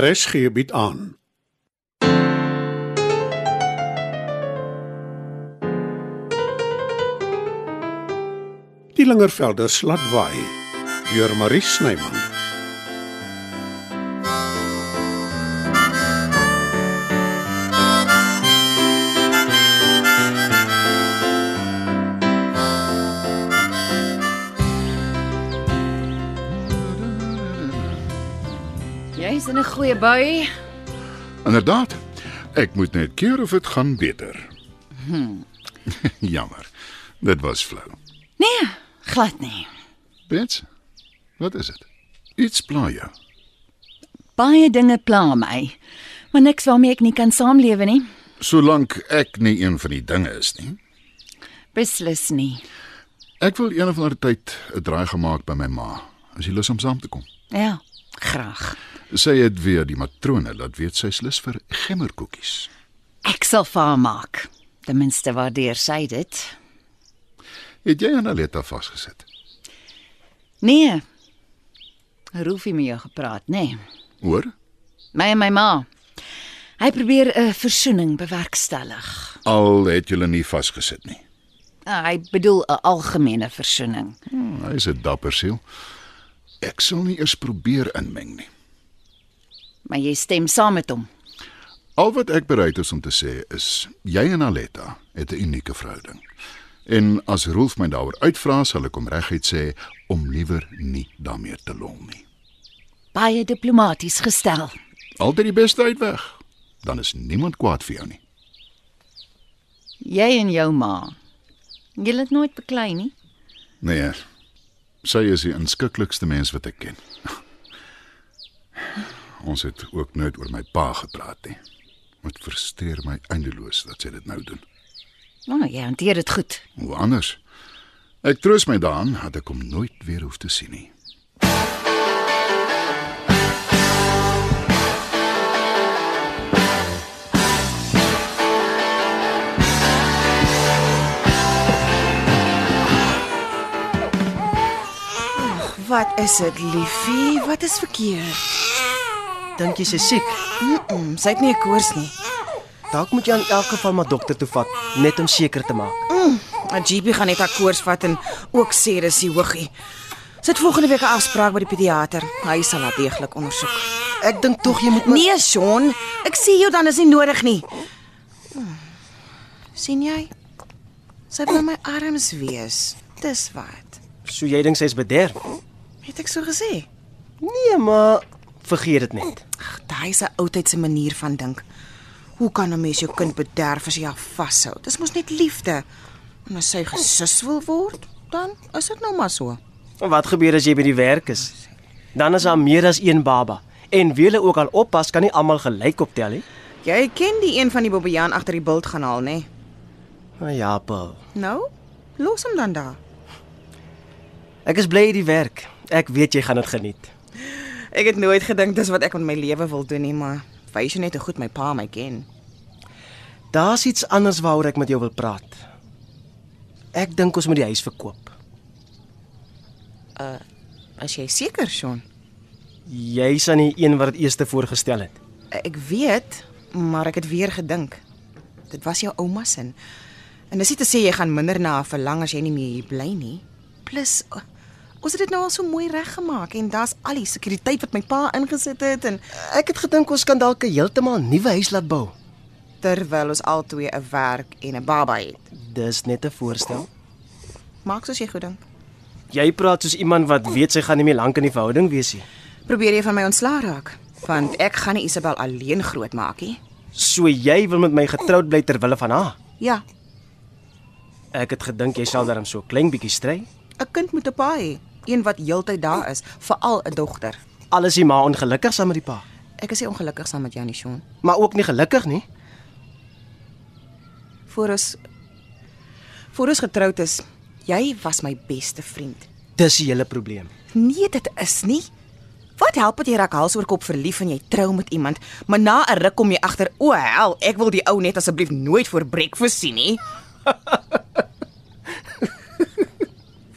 RSG bied aan. Die Lingervelder slatwaai deur Marie Snyman. Jy's in 'n goeie bui. Inderdaad. Ek moet net keer of dit gaan beter. Jammer. Dit was flou. Nee, glad nie. Bets, wat is dit? Iets pla jou. Baie dinge pla my, maar niks waarmee ek nie kan saamlewe nie. Solank ek nie een van die dinge is nie. Beslis nie. Ek wil een of ander tyd 'n draai gemaak by my ma. As jy lus om saam te kom. Ja, graag. Sy het weer die matrone laat weet sy's lus vir gemmerkoekies. Ek sal vir haar maak. Ten minste waardeer sy dit. Het jy aan Aletta vasgesit? Nee. Roofie met jou gepraat, nê? Nee. Hoor? My en my ma. Hy probeer 'n versoening bewerkstellig. Al het julle nie vasgesit nie. Ah, Hy bedoel 'n algemene versoening. Hmm, hy is 'n dapper siel. Ek sal nie eers probeer inmeng nie. Maar jy stem saam met hom. Al wat ek bereid is om te sê is jy en Aletta het 'n unieke verhouding. En as Rolf my daaroor uitvra, sal ek hom reguit sê om liewer nie daarmee te lol nie. Baie diplomaties gestel. Altyd die beste uitweg. Dan is niemand kwaad vir jou nie. Jy en jou ma. Julle het nooit beklei nie. Nee. Sy is die inskikkelijkste mens wat ek ken. Ons het ook nooit oor my pa gepraat nie. Dit frustreer my eindeloos dat sy dit nou doen. Nou, oh, jy hanteer dit goed. Hoe anders? Ek troos my daaraan dat ek hom nooit weer hoef te sien nie. Wat is dit, liefie? Wat is verkeerd? Dink jy sy siek? Mm, sy het nie 'n koors nie. Dalk moet jy aan elke geval maar dokter toe vat, net om seker te maak. Maar GP gaan net haar koors vat en ook sê dis die hoogie. Sy het volgende week 'n afspraak by die pediater. Hy sal haar deeglik ondersoek. Ek dink tog jy moet maar Nee, Sean, ek sê jou dan is nie nodig nie. Mm. sien jy? Sy wil in my arms wees. Dis wat. so jy dink sy's bederf. Het ek so gesê? Nee, maar vergeet dit net. Ag, daai is 'n oudtydse manier van dink. Hoe kan 'n mens jou kind bederf as jy haar vashou? Dis mos net liefde. En as sy gesus wil word, dan is dit nou maar so. En wat gebeur as jy by die werk is? Dan is daar meer as een baba. En wie hulle ook al oppas, kan nie almal gelyk optel nie. Jy ken die een van die Bobbejaan agter die bult gaan haal, nê? Maar ja, Paul. Nou, los hom dan daar. Ek is bly jy die werk. Ek weet jy gaan dit geniet. Ek het nooit gedink dis wat ek met my lewe wil doen nie, maar wys jy net hoe goed my pa my ken. Daar's iets anders waaroor ek met jou wil praat. Ek dink ons moet die huis verkoop. As jy seker, Sean. Jy's aan die een wat dit eerste voorgestel het. Ek weet, maar ek het weer gedink. Dit was jou ouma se. En dis nie te sê jy gaan minder na haar verlang as jy nie meer hier bly nie. Plus o- ons het dit nou al so mooi reggemaak en daar's al die sekuriteit wat my pa ingesit het en Ek het gedink ons kan dalk 'n heeltemal nuwe huis laat bou. terwyl ons albei 'n werk en 'n baba het. Dis net 'n voorstel. Maak soos jy goed dink. Jy praat soos iemand wat weet sy gaan nie meer lank in die verhouding wees nie. Probeer jy van my ontslaa raak, want ek gaan nie Isabel alleen grootmaak nie. So jy wil met my getroud bly ter wille van haar. Ja, Ek het gedink jy sal daarom so klein bietjie stry. 'n kind moet 'n pa hê, een wat heeltyd daar is, veral 'n dogter. Alles is maar ongelukkig saam met die pa, Ek is nie ongelukkig saam met jou nie, Sean. maar ook nie gelukkig nie. Voor ons voor ons getroud is, jy was my beste vriend. Dis die hele probleem. Nee, dit is nie. Wat help dit jy raak hals oor kop verlief en jy trou met iemand, maar na 'n ruk kom jy agter, o hel, ek wil die ou net asseblief nooit voor breakfast sien nie.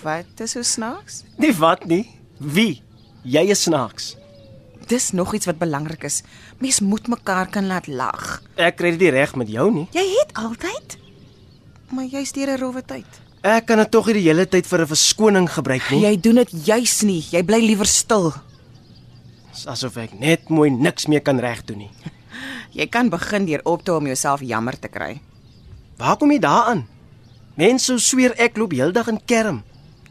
Wat is so snaaks? Nie wat nie. Wie? Jy is snaaks. dis nog iets wat belangrik is. Mens moet mekaar kan laat lag. Ek kry dit nie reg met jou nie. Jy het altyd maar jy's deur 'n rowwe tyd. Ek kan dit tog nie die hele tyd vir 'n verskoning gebruik nie. Jy doen dit juis nie. Jy bly liewer stil. Dis asof ek net mooi niks meer kan reg doen nie. Jy kan begin deur op te hou om jouself jammer te kry. Waar kom jy daaraan? Mense sou sweer ek loop heeldag in kerm.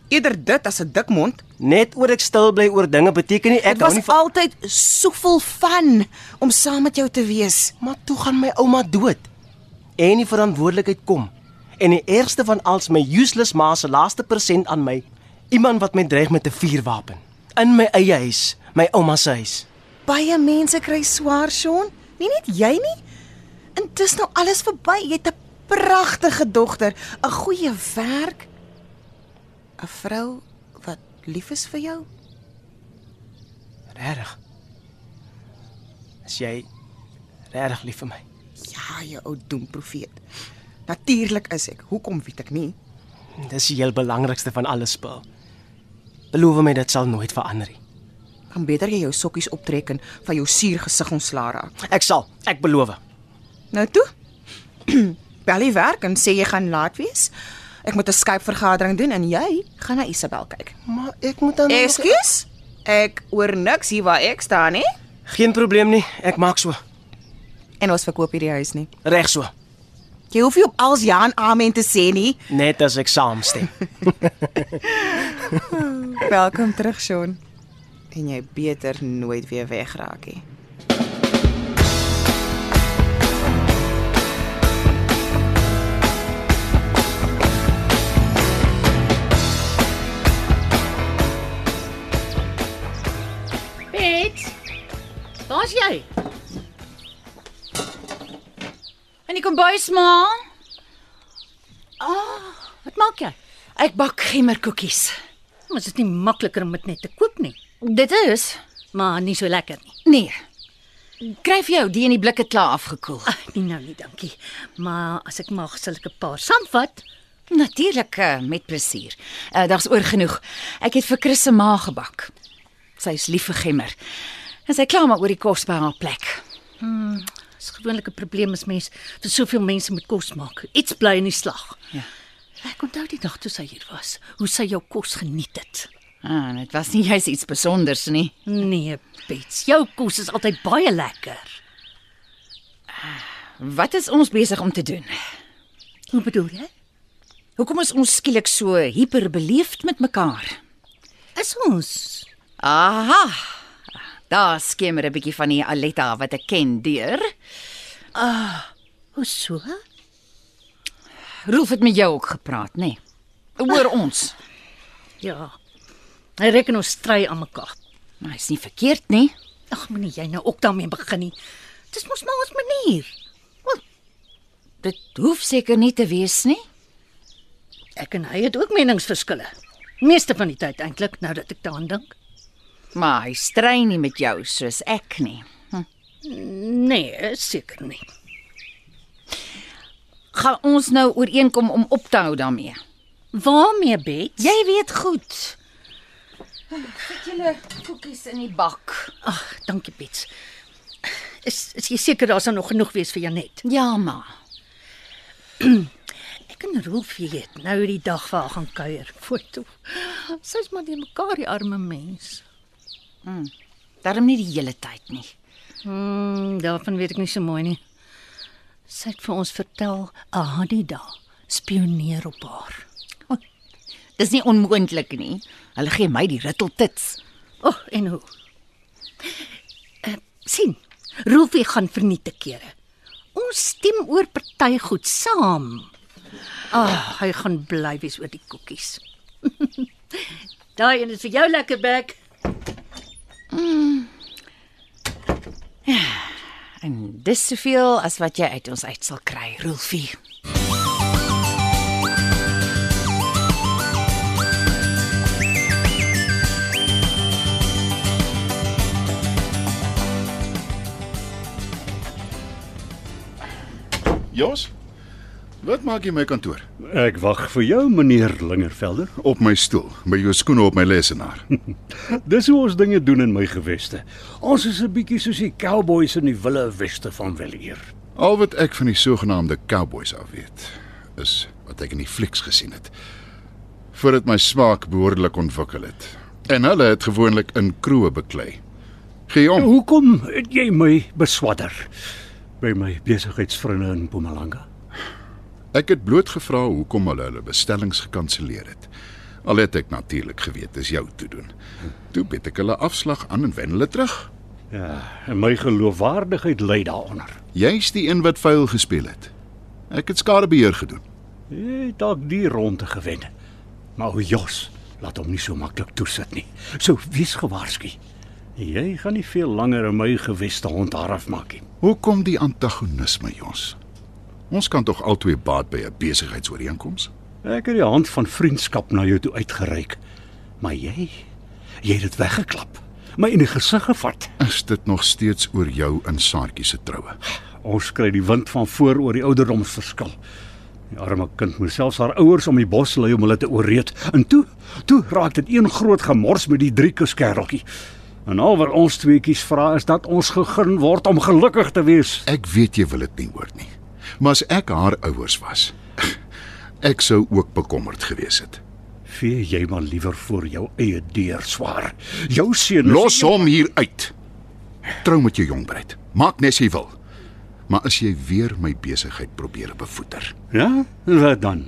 Eerder dit as 'n dik mond. Net oor ek stil bly oor dinge beteken nie Dit ek hou nie was van altyd soveel van om saam met jou te wees. Maar toe gaan my ouma dood. En die verantwoordelikheid kom. En die ergste van als my useless ma se laaste persent aan my, iemand wat my dreig met 'n vuurwapen in my eie huis, my ouma se huis. Baie mense kry swaar, Sean. Nie net jy nie. Intussen nou alles verby. Jy het 'n pragtige dogter, 'n goeie werk, 'n vrou wat lief is vir jou. Regtig. As jy regtig lief vir my. Ja, jy ou doemprofeet. Natuurlik is ek. Hoekom weet ek nie? Dis die heel belangrikste van alles, Paul. Beloof my dit sal nooit verander nie. Kan beter jy jou sokkies optrek en van jou suur gesig ontslaa raak. Ek sal, ek beloof. Nou toe. Bel die werk en sê jy gaan laat wees. Ek moet 'n Skype vergadering doen en jy gaan na Isabel kyk. Maar ek moet dan Ekskuus? Ek oor niks hier waar ek staan nie. Geen probleem nie, ek maak so. En ons verkoop hierdie huis nie. Reg so. Jy hoef nie op als ja en amen te sê nie. Net as ek saamstem. Welkom terug, Sean. En jy beter nooit weer wegraak nie. Piet. Waar's jy? En ek kom bys maar. Ah, Ah, wat maak jy? Ek bak gemmerkoekies. Ons is nie makliker om dit net te koop nie, Dit is maar nie so lekker nie. nee. Kry vir jou die in die blikke klaar afgekoel. Ag, nie nou nie, dankie. Maar as ek mag, sal ek 'n paar saamvat. Natuurlik eh, met plesier. Uh, Daar's oor genoeg. Ek het vir Chris se ma gebak. Sy's lief vir gemmer. En sy kla maar oor die kos by haar plek. Dis gewoonlik 'n probleem as mens vir soveel mense moet kos maak. Iets bly in die slag. Ja. Ek onthou die dag toe sy hier was, hoe sy jou kos geniet het. Ah, en dit was nie juis iets spesiaals nie. Nee, Piet, jou kos is altyd baie lekker. Wat is ons besig om te doen? Hoe bedoel jy? Hoekom is ons skielik so hiperbeleefd met mekaar? Is ons Aha. Daar skemer 'n bietjie van die Aletta wat ek ken deur. Hoe so? Rolf het met jou ook gepraat, nê? Nee. Oor ons. Ja. Ek reken ons stry aan mekaar. Maar is nie verkeerd nie. Ag, moenie jy nou ook daarmee begin nie. Dis mos maar ons manier. Dit hoef seker nie te wees nie. Ek en hy het ook meningsverskille. Meeste van die tyd eintlik, nou dat ek daaraan dink. Maar hy strei nie met jou soos ek nie. Nee, seker nie. Gaan ons nou ooreenkom om op te hou daarmee? Waarmee bet? Jy weet goed. Sit julle koekies in die bak. Ag, dankie Piet. Is is jy seker daar sal nog genoeg wees vir Janet? Ja, ma. Ek en Rolf weet nou die dag vir haar gaan kuier. Foto. Sy's maar die mekaar die arme mens. Daarom nie die hele tyd nie. Mm, daarvan weet ek nie so mooi nie. Sy het vir ons vertel Ahadida spioneer op haar. Dis nie onmoontlik nie. Hulle gee my die ritteltits. O, oh, en hoe? Uh, sien, Rolfie gaan vernietig kere. Ons stem oor party goed saam. Ah, hy gaan bly wees oor die koekies. Daai een is vir jou lekker bek. En dis soveel as wat jy uit ons uit sal kry, Rolfie. Jos, Wat maak jy in my kantoor? Ek wag vir jou, meneer Lingervelder. Op my stoel, by jou skoene op my lesenaar. Dis hoe ons dinge doen in my geweste. Ons is 'n bietjie soos die cowboys in die wilde weste van Weleer. Al wat ek van die sogenaamde cowboys af weet, is wat ek in die flieks gesien het. Voordat my smaak behoorlik ontwikkel het. En hulle het gewoonlik in kroe beklei. Gee om. Hoekom het jy my beswadder by my besigheidsvriende in Mpumalanga? Ek het bloot gevra hoekom hulle hulle bestellings gekanselleer het. Al het ek natuurlik geweet dis jou toe doen. Toe bid ek hulle afslag aan en wen hulle terug. Ja, en my geloofwaardigheid lê daaronder. Jy's die een wat vuil gespeel het. Ek het skadebeheer gedoen. Jy het dalk die ronde gewen. Maar ou Jos, laat hom nie so maklik toesit nie. So wees gewaarsku. Jy gaan nie veel langer in my geweste hond harf maak nie. Hoekom die antagonisme, Jos? Ons kan tog albei baat by 'n besigheidsooreenkoms. Ek het die hand van vriendskap na jou toe uitgereik, maar jy jy het dit weggeklap. My in die gesig gevat. Is dit nog steeds oor jou en Saartjie se troue? Ons kry die wind van voor oor die ouderdomsverskil. Die arme kind moes selfs haar ouers om die bos lei om hulle te ooreed. En toe, toe raak dit een groot gemors met die drie kuskerreltjie. En al wat ons tweeetjies vra is dat ons gegeen word om gelukkig te wees. Ek weet jy wil dit nie hoor nie. Maar as ek haar ouers was, ek sou ook bekommerd gewees het. Vee jy maar liewer voor jou eie deur swaar. Jou seun is Los hom hier uit. Trou met jou jong bruid. Maak net as jy wil. Maar as jy weer my besigheid probeer bevoeter. Ja? Wat dan?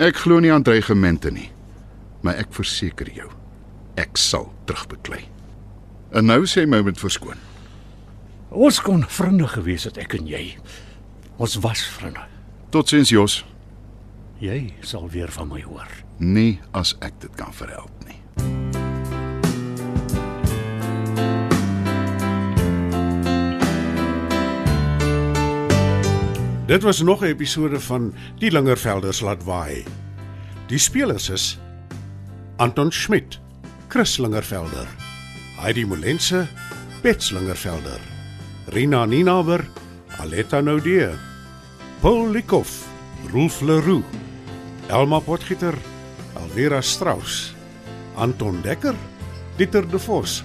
Ek glo nie aan dreigemente nie. Maar ek verseker jou, ek sal terugbeklei. En nou sê my met verskoon. Ons kon vriende gewees het ek en jy. Ons was vriende. Totsiens Jos. Jy sal weer van my hoor. Nie as ek dit kan verhelp nie. Dit was nog 'n episode van Die Lingervelders laat waai. Die spelers is Anton Schmidt, Chris Lingervelder, Heidi Molense, Bets Lingervelder, Rina Ninaber, Aletta Noudee, Paul Likoff, Rolf Leroux, Elma Potgieter, Alvera Strauss, Anton Dekker, Dieter De Vos,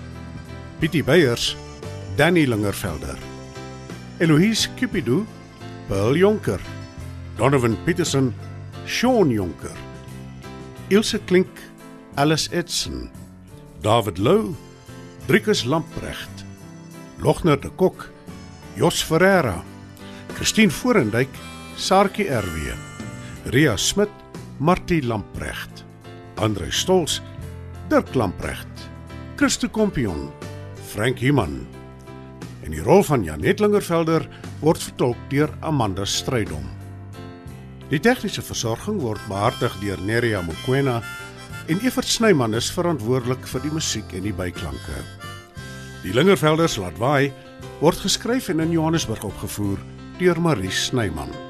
Pietie Beyers, Danny Lingervelder, Eloise Cupidou Paul Jonker, Donovan Petersen, Sean Jonker, Ilse Klink, Alice Edson, David Lou, Driekus Lamprecht, Logner de Kok, Jos Ferreira, Christine Forendyk, Sarkie RW, Ria Smit, Martie Lamprecht, Andre Stols, Dirk Lamprecht, Christo Kompion, Frank Human. En die rol van Janet Lingervelder word vertolk deur Amanda Strydom. Die tegniese versorging word behartig deur Neriya Mkwena en Evert Snyman is verantwoordelik vir die musiek en die byklanke. Die Lingervelders laat waai word geskryf en in Johannesburg opgevoer deur Marie Snyman.